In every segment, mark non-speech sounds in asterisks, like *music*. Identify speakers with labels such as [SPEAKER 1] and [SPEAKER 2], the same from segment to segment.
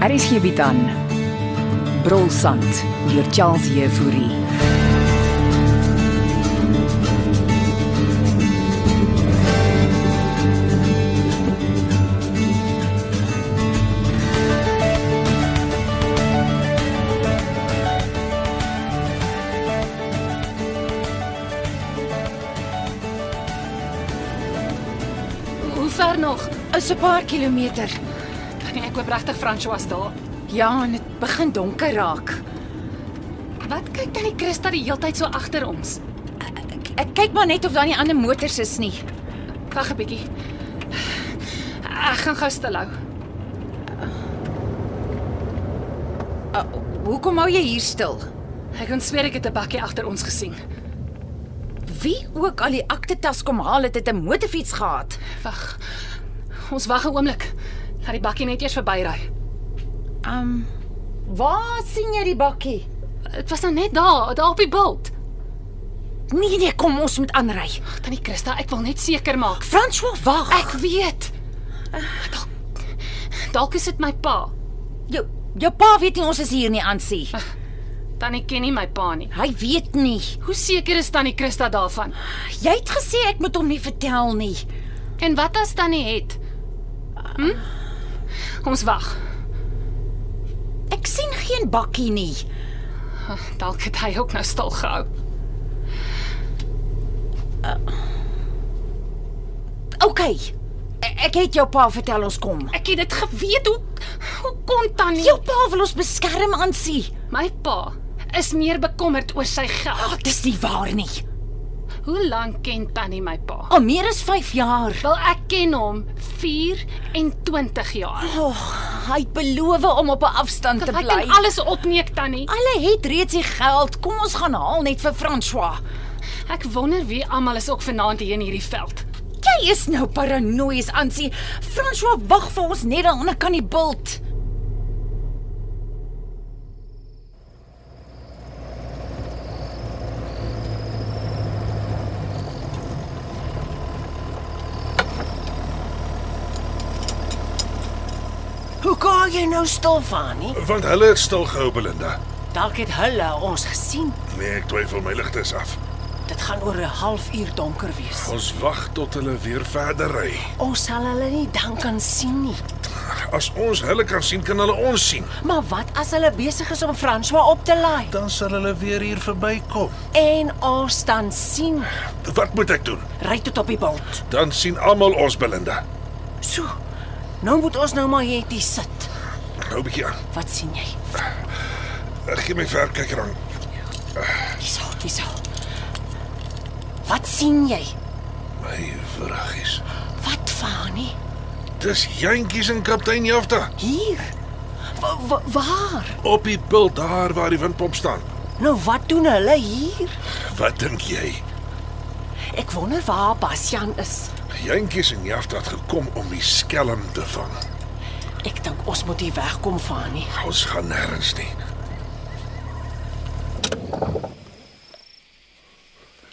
[SPEAKER 1] RSG bied aan Brolsand deur Charles Jefouri.
[SPEAKER 2] Hoe ver nog?
[SPEAKER 3] Is 'n paar kilometer.
[SPEAKER 2] Kan ek koop regtig François daar?
[SPEAKER 3] Ja, en dit begin donker raak.
[SPEAKER 2] Wat kyk tannie Christa die heeltyd so agter ons?
[SPEAKER 3] Ek, ek kyk maar net of daar nie ander motors is nie.
[SPEAKER 2] Wag 'n bietjie. Ek gaan gou stilhou.
[SPEAKER 3] Uh, hoekom hou jy hier stil?
[SPEAKER 2] Ek kon swer ek het 'n bakkie agter ons gesien.
[SPEAKER 3] Wie ook al die aktetas kom haal, het dit 'n motorfiets gehad.
[SPEAKER 2] Wag. Ons wag 'n oomblik. Laat die bakkie net eers verbyry.
[SPEAKER 3] Um waar sien jy die bakkie?
[SPEAKER 2] Dit was nou net daar, daar op die bult.
[SPEAKER 3] Nee nee, kom ons moet aanry.
[SPEAKER 2] Ag tannie Christa, ek wil net seker maak.
[SPEAKER 3] François, wag.
[SPEAKER 2] Ek weet. Dalk Dalk is dit my pa.
[SPEAKER 3] jou jou pa weet nie ons is hier nie, Ansie.
[SPEAKER 2] Tannie ken nie my pa nie.
[SPEAKER 3] Hy weet nie.
[SPEAKER 2] Hoe seker is tannie Christa daarvan?
[SPEAKER 3] Jy het gesê ek moet hom nie vertel nie.
[SPEAKER 2] En wat as tannie het? Hm? Ons wag.
[SPEAKER 3] Ek sien geen bakkie nie.
[SPEAKER 2] Dalk het hy ook nou stil gehou.
[SPEAKER 3] OK. e- Ek het jou pa vertel ons kom.
[SPEAKER 2] Ek het dit geweet hoe hoe kon tannie?
[SPEAKER 3] Jou pa wil ons beskerm, Ansie.
[SPEAKER 2] My pa is meer bekommerd oor sy geld.
[SPEAKER 3] Ag, Ah, dis nie waar nie.
[SPEAKER 2] Hoe lank ken tannie my pa?
[SPEAKER 3] Al meer as 5 jaar.
[SPEAKER 2] Wel ek ken hom 24 jaar.
[SPEAKER 3] Oh, hy het beloof om op 'n afstand te
[SPEAKER 2] Ek
[SPEAKER 3] bly.
[SPEAKER 2] kan alles opneek tannie.
[SPEAKER 3] Alle het reeds die geld. Kom ons gaan haal net vir François.
[SPEAKER 2] Ek wonder wie almal is ook vanaand hier in hierdie veld.
[SPEAKER 3] Jy is nou paranoïes, Ansie. François wag vir ons net daar onder kan die bult.
[SPEAKER 4] Hoe kan jy nou stil van nie?
[SPEAKER 5] Want hulle het stilgehou, Belinda.
[SPEAKER 4] Dalk het hulle ons gesien.
[SPEAKER 5] Nee, ek twyfel my ligte is af.
[SPEAKER 4] Dit gaan oor 'n halfuur donker wees.
[SPEAKER 5] Ons wag tot hulle weer verder ry.
[SPEAKER 4] Ons sal hulle nie dan kan sien nie.
[SPEAKER 5] As ons hulle kan sien, kan hulle ons sien.
[SPEAKER 4] Maar wat as hulle besig is om François op te laai
[SPEAKER 5] Dan sal hulle weer hier verbykom.
[SPEAKER 4] en ons dan sien
[SPEAKER 5] Wat moet ek doen?
[SPEAKER 4] ry tot op die bult.
[SPEAKER 5] Dan sien almal ons, Belinda.
[SPEAKER 4] So. Nou moet ons nou maar hier dit sit.
[SPEAKER 5] Hou 'n bietjie aan.
[SPEAKER 4] Wat sien jy?
[SPEAKER 5] Ek gee my verkyker aan.
[SPEAKER 4] Dis al, dis al. Wat sien jy?
[SPEAKER 5] My vruggies.
[SPEAKER 4] Wat van nie?
[SPEAKER 5] Dis jentjies en kaptein Jafta
[SPEAKER 4] Hier. Wa- wa- Waar?
[SPEAKER 5] op die pil daar waar die windpomp staan.
[SPEAKER 4] Nou wat doen hulle hier?
[SPEAKER 5] Wat dink jy?
[SPEAKER 4] Ek wonder waar Bastian is.
[SPEAKER 5] Jentjies en Jafta het gekom om die skelm te vang.
[SPEAKER 4] Ek dink ons moet hier wegkom van nie.
[SPEAKER 5] Ons gaan nêrens nie.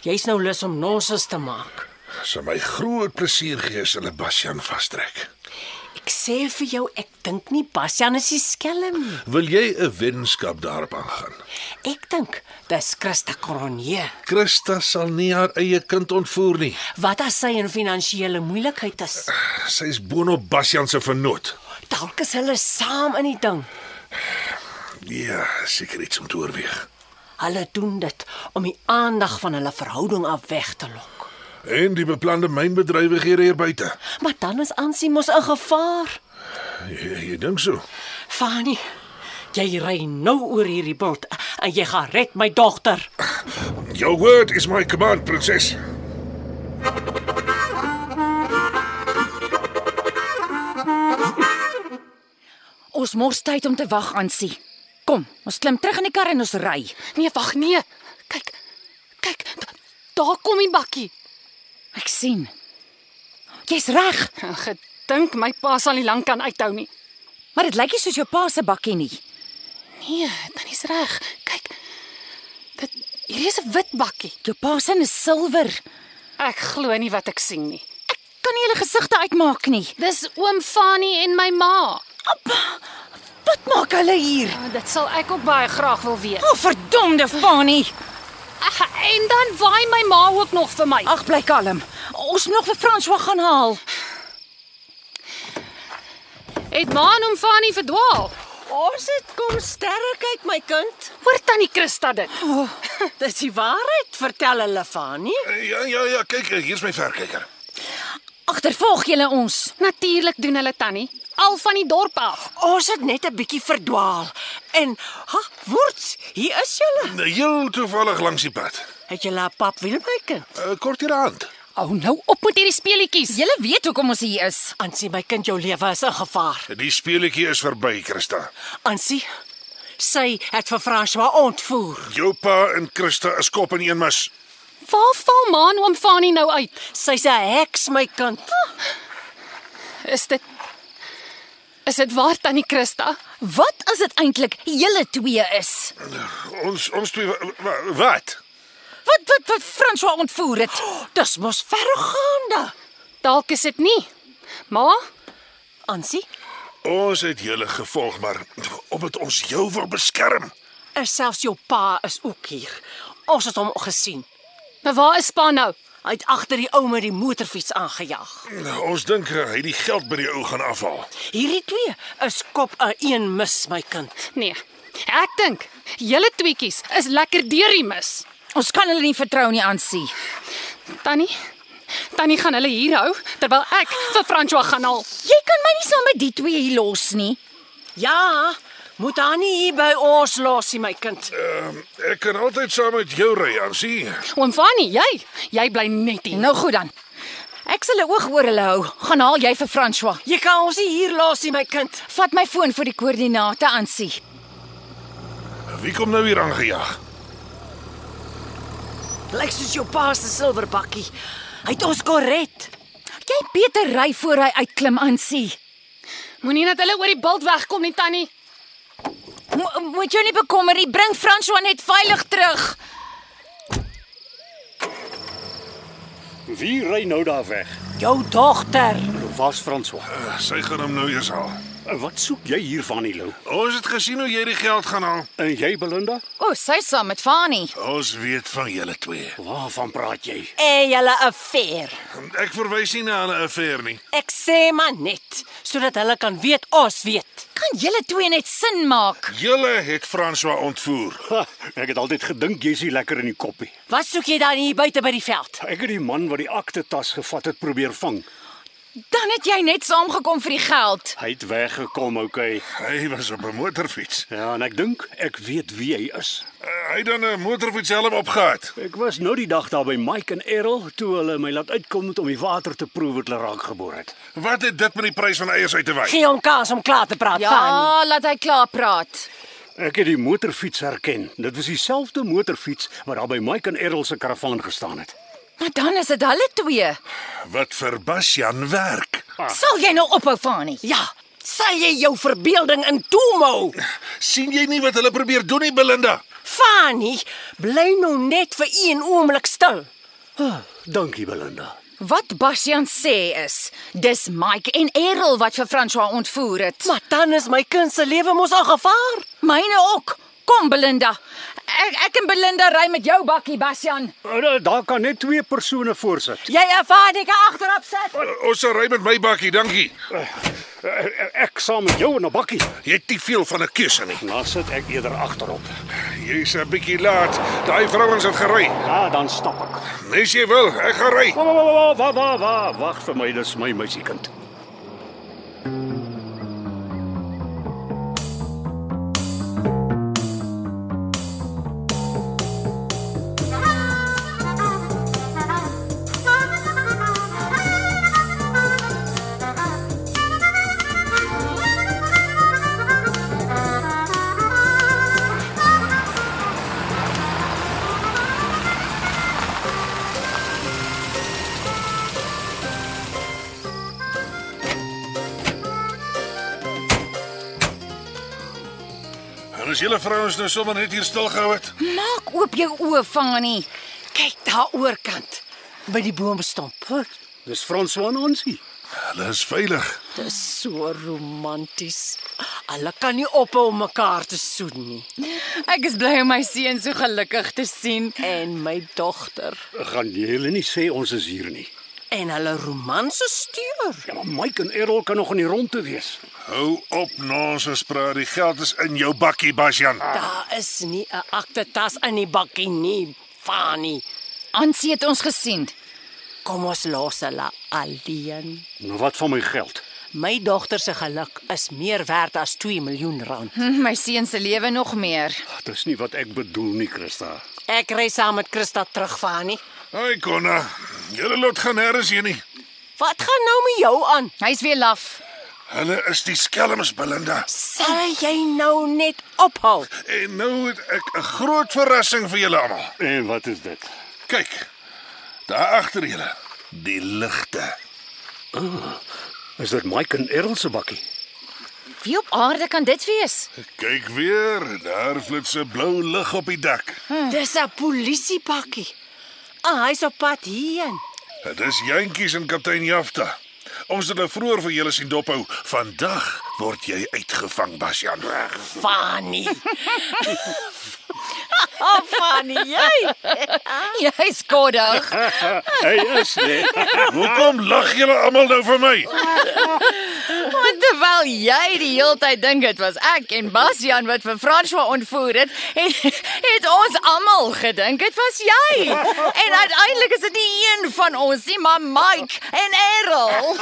[SPEAKER 4] Jy's nou lus om nonsens te maak.
[SPEAKER 5] Sal my groot plesier gee as hulle Bastian vastrek.
[SPEAKER 4] Ek sê vir jou, ek dink nie Bastian is die skelm nie.
[SPEAKER 5] Wil jy 'n wetenskap daarop aangaan?
[SPEAKER 4] Ek dink dis Christa Coronje.
[SPEAKER 5] Christa sal nie haar eie kind ontvoer nie.
[SPEAKER 4] Wat as sy in finansiële moeilikheid is?
[SPEAKER 5] Sy's boonop Bastian se vernoot.
[SPEAKER 4] Dalk is hulle saam in die ding.
[SPEAKER 5] Ja, seker iets om te oorweeg.
[SPEAKER 4] Hulle doen dit om die aandag van hulle verhouding af weg te lok.
[SPEAKER 5] En die beplande mynbedrywighede hier buite.
[SPEAKER 4] Maar dan is Ansie mos in gevaar.
[SPEAKER 5] Jy, jy dink so?
[SPEAKER 4] Fani, jy ry nou oor hierdie bult en jy gaan red my dogter.
[SPEAKER 5] Your word is my command, prinses.
[SPEAKER 3] Ons mors tyd om te wag, Ansie. Kom, ons klim terug in die kar en ons ry.
[SPEAKER 2] Nee, wag, nee. Kyk. Kyk, da- daar kom die bakkie.
[SPEAKER 3] Ek sien. Jy's reg,
[SPEAKER 2] *laughs* Gedink my pa sal nie lank kan uithou nie.
[SPEAKER 3] maar dit lyk nie soos jou pa se bakkie nie.
[SPEAKER 2] Nee, tannie's reg. Kyk. Dit hier is 'n wit bakkie.
[SPEAKER 3] Jou pa se is silwer.
[SPEAKER 2] Ek glo nie wat ek sien nie.
[SPEAKER 3] Ek kan nie hulle gesigte uitmaak nie.
[SPEAKER 2] Dis oom Fanie en my ma.
[SPEAKER 3] Appa, Wat maak hulle hier?
[SPEAKER 2] Oh, dit sal ek ook baie graag wil weet.
[SPEAKER 3] O, oh, verdomde Fanie.
[SPEAKER 2] Ag, en dan waai my ma ook nog vir my.
[SPEAKER 3] Ag, bly kalm. Ons moet nog vir François gaan haal.
[SPEAKER 2] Het ma en hom van nie verdwaal.
[SPEAKER 4] Ons het kom sterre kyk my kind.
[SPEAKER 2] Hoor tannie Christa dit.
[SPEAKER 4] *laughs* Dis die waarheid, vertel hulle van nie.
[SPEAKER 5] Ja ja ja, kyk, hier's my verkyker.
[SPEAKER 3] Agtervolg julle ons.
[SPEAKER 2] Natuurlik doen hulle tannie al van die dorp af.
[SPEAKER 4] Ons het net 'n bietjie verdwaal. En ha, woords, hier is julle.
[SPEAKER 5] Heel toevallig langs die pad.
[SPEAKER 4] Het julle 'n papwiel my kind?
[SPEAKER 5] Eh, Kort hierand.
[SPEAKER 3] Ou nou
[SPEAKER 2] Op met hierdie speletjies.
[SPEAKER 3] Julle weet hoekom ons hier is.
[SPEAKER 4] Ansie my kind, jou lewe is in gevaar.
[SPEAKER 5] Die speletjie is verby, Christa.
[SPEAKER 4] Ansie, sy het vir François ontvoer.
[SPEAKER 5] Jou pa en Christa is kop in een mis.
[SPEAKER 2] Waar val ma en oom Fanie nou uit?
[SPEAKER 4] Sy's 'n heks my kind.
[SPEAKER 2] Is dit Is dit waar tannie Christa?
[SPEAKER 3] Wat as dit eintlik julle twee is?
[SPEAKER 5] Ons ons twee wa- wa- wat?
[SPEAKER 3] Wat wat wat François ontvoer het?
[SPEAKER 4] Oh, Dis mos verregaande.
[SPEAKER 2] Dalk is dit nie. Ma,
[SPEAKER 4] Ansie,
[SPEAKER 5] Ons het julle gevolg, maar omdat ons jou wil beskerm.
[SPEAKER 4] en er selfs jou pa is ook hier. Ons het hom gesien.
[SPEAKER 2] maar waar is pa nou?
[SPEAKER 4] Hy het agter die ou met die motorfiets aangejaag.
[SPEAKER 5] Ons dink eh, hy het die geld by die ou gaan afhaal.
[SPEAKER 4] Hierdie twee is kop aan een mis my kind.
[SPEAKER 2] Nee. Ek dink julle tweetjies is lekker deur die mis.
[SPEAKER 3] Ons kan hulle nie vertrou nie, Ansie.
[SPEAKER 2] Tannie, tannie gaan hulle hier hou terwyl ek vir François gaan haal.
[SPEAKER 3] Jy kan my nie saam met die twee hier los nie.
[SPEAKER 4] Ja, moet haar nie hier by ons los nie, my kind.
[SPEAKER 5] Ek kan altyd saam met jou ry, Ansie.
[SPEAKER 2] Oom Fanie, jy, jy bly net hier.
[SPEAKER 3] Nou goed dan. Ek sal 'n oog oor hulle hou. Gaan haal jy vir François.
[SPEAKER 4] Jy kan ons nie hier los nie, my kind.
[SPEAKER 3] Vat my foon vir die koördinate, Ansie.
[SPEAKER 5] Wie kom nou hier aangejaag?
[SPEAKER 4] Lyk soos jou pa se silwer bakkie. Hy het ons korret.
[SPEAKER 3] Jy beter ry voor hy uitklim, Ansie.
[SPEAKER 2] Moenie dat hulle oor die bult wegkom nie, tannie.
[SPEAKER 3] Mo moet jou nie bekommer nie. Bring François net veilig terug.
[SPEAKER 6] Wie ry nou daar weg?
[SPEAKER 4] Jou dogter.
[SPEAKER 6] Waar's François?
[SPEAKER 5] Sy gaan hom nou eers haal.
[SPEAKER 6] Eh, Wat soek jy hier van die lou?
[SPEAKER 5] Ons het gesien hoe jy die geld gaan haal.
[SPEAKER 6] En jy Belinda?
[SPEAKER 3] O, sy saam met Fanie.
[SPEAKER 5] Ons weet van julle twee.
[SPEAKER 6] Waarvan praat jy?
[SPEAKER 4] En julle 'n ver.
[SPEAKER 5] Ek verwys nie na hulle affair nie.
[SPEAKER 4] Ek sê maar net sodat hulle kan weet ons weet.
[SPEAKER 3] Kan julle twee net sin maak?
[SPEAKER 5] Julle het François ontvoer.
[SPEAKER 6] Ha, ek het altyd gedink jy's nie lekker in die koppie.
[SPEAKER 4] Wat soek jy dan hier buite by die veld?
[SPEAKER 6] Ek het die man wat die akte tas gevat het probeer vang.
[SPEAKER 3] Dan het jy net saamgekom vir die geld.
[SPEAKER 6] Hy het weggekom, okay.
[SPEAKER 5] Hy was op 'n motorfiets.
[SPEAKER 6] Ja, en ek dink ek weet wie hy is.
[SPEAKER 5] Uh, Hy het dan 'n motorfiets helm opgehad.
[SPEAKER 6] Ek was nou die dag daar by Mike en Errol toe hulle my laat uitkom het om die water te proe wat hulle raak geboor het.
[SPEAKER 5] Wat het dit met die prys van eiers uit te wy?
[SPEAKER 4] Gee hom kans om klaar te praat, Fanny.
[SPEAKER 3] Ja, laat hy klaar praat.
[SPEAKER 6] Ek het die motorfiets herken. Dit was dieselfde motorfiets wat daar by Mike en Errol se karavaan gestaan het.
[SPEAKER 3] Maar dan is dit hulle twee.
[SPEAKER 5] Wat vir Basjan werk.
[SPEAKER 3] Sal jy nou ophou, Fanie?
[SPEAKER 4] Ja. Sal jy jou verbeelding in toemo?
[SPEAKER 5] sien jy nie wat hulle probeer doen nie, Belinda?
[SPEAKER 4] Fanny, bly nou net vir een oomblik stil.
[SPEAKER 6] Ah, dankie Belinda.
[SPEAKER 3] Wat Bastian sê is, dis Mike en Errol wat vir François ontvoer het.
[SPEAKER 4] Maar dan is my kind se lewe mos al gevaar.
[SPEAKER 3] Myne ook. Kom Belinda. Ek ek en Belinda ry met jou bakkie Bastian.
[SPEAKER 6] Da- Daar kan net twee persone voorsit.
[SPEAKER 4] Jy ervaar dit agterop sit.
[SPEAKER 5] Uh, Ons sal ry met my bakkie, dankie.
[SPEAKER 6] Eh, Ek saam met jou in 'n bakkie.
[SPEAKER 5] Jy het nie veel van 'n keuse nie.
[SPEAKER 6] Dan sit ek eerder agterop.
[SPEAKER 5] Jy's 'n bietjie laat. Daai vrouens het gery.
[SPEAKER 6] Ja, dan stap ek.
[SPEAKER 5] Nes jy wil, ek gaan ry.
[SPEAKER 6] Wa wa wa wa wa wa wag vir my, dis my meisiekind.
[SPEAKER 5] En as julle vrouens nou sommer net hier stil gehou het.
[SPEAKER 3] Maak oop jou oë, Fanie.
[SPEAKER 4] Kyk daar oorkant by die boomstomp.
[SPEAKER 6] Dis François Nancy.
[SPEAKER 5] Hulle is veilig.
[SPEAKER 2] Dis so romanties.
[SPEAKER 4] Hulle kan nie ophou om mekaar te soen nie.
[SPEAKER 2] Ek is bly om my seun so gelukkig te sien en my dogter.
[SPEAKER 6] Gaan jy hulle nie sê ons is hier nie.
[SPEAKER 4] En hulle romanse steur.
[SPEAKER 6] Ja, maar Mike en Errol kan nog in die rondte wees.
[SPEAKER 5] Hou op nonsens praat. Die geld is in jou bakkie, Basjan.
[SPEAKER 4] Daar is nie 'n akte tas in die bakkie nie, Fani.
[SPEAKER 3] Ansie het ons gesien.
[SPEAKER 4] Kom ons los hulle alleen.
[SPEAKER 6] Nou wat van my geld?
[SPEAKER 4] My dogter se geluk is meer werd as 2 miljoen rand.
[SPEAKER 3] Hm, My seun se lewe nog meer.
[SPEAKER 6] Ag, Dis nie wat ek bedoel nie, Christa.
[SPEAKER 4] Ek ry saam met Christa terug, Fani.
[SPEAKER 5] Hoi Konna. Julle lot gaan nêrens heen nie.
[SPEAKER 4] Wat gaan nou met jou aan?
[SPEAKER 3] Hy's weer laf.
[SPEAKER 5] Hulle is die skelms, Belinda.
[SPEAKER 4] Sal jy nou net ophou?
[SPEAKER 5] En nou het ek 'n groot verrassing vir julle almal.
[SPEAKER 6] En wat is dit?
[SPEAKER 5] Kyk. Daar agter julle, die ligte.
[SPEAKER 6] Is dit Mike en Errol se bakkie?
[SPEAKER 3] Wie op aarde kan dit wees?
[SPEAKER 5] Kyk weer, daar flits 'n blou lig op die dak.
[SPEAKER 4] Dis 'n polisiepakkie. Ah, hy's op pad hierheen.
[SPEAKER 5] Dit is Jantjies en kaptein Jafta. Ons het nou hulle vroeër vir julle sien dophou. Vandag word jy uitgevang, Basjan.
[SPEAKER 4] Fani. oh, Fani, jy.
[SPEAKER 3] *laughs* Jy's koddig.
[SPEAKER 6] Hy is nee.
[SPEAKER 5] Hoekom lag julle almal nou vir my?
[SPEAKER 3] Want terwyl jy die heeltyd dink dit was ek en Bastian wat vir François ontvoer het, het, het ons almal gedink dit was jy. En uiteindelik is dit nie een van ons nie, maar Mike en Errol.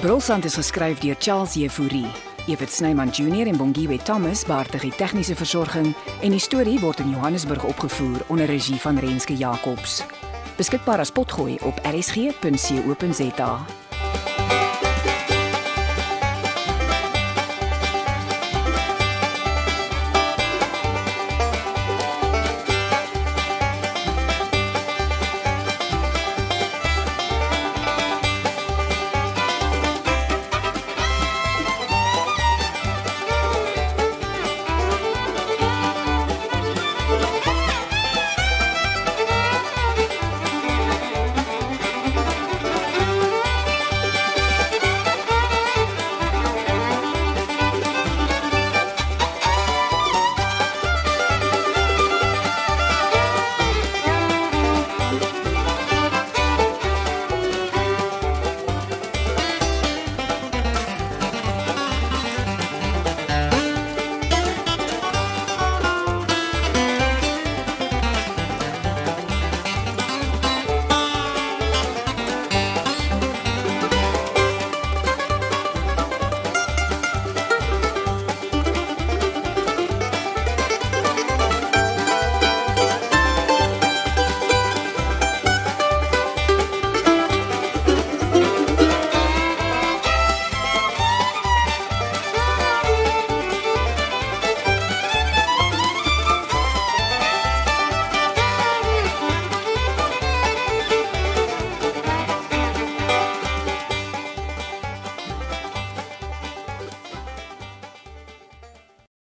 [SPEAKER 1] Brolsand is geskryf deur Charles Jefouri. Evit Snyman Junior en Bongwe Thomas baartig die tegniese versorging en die storie word in Johannesburg opgevoer onder regie van Renske Jacobs. Beskikbaar as potgooi op rsg.co.za.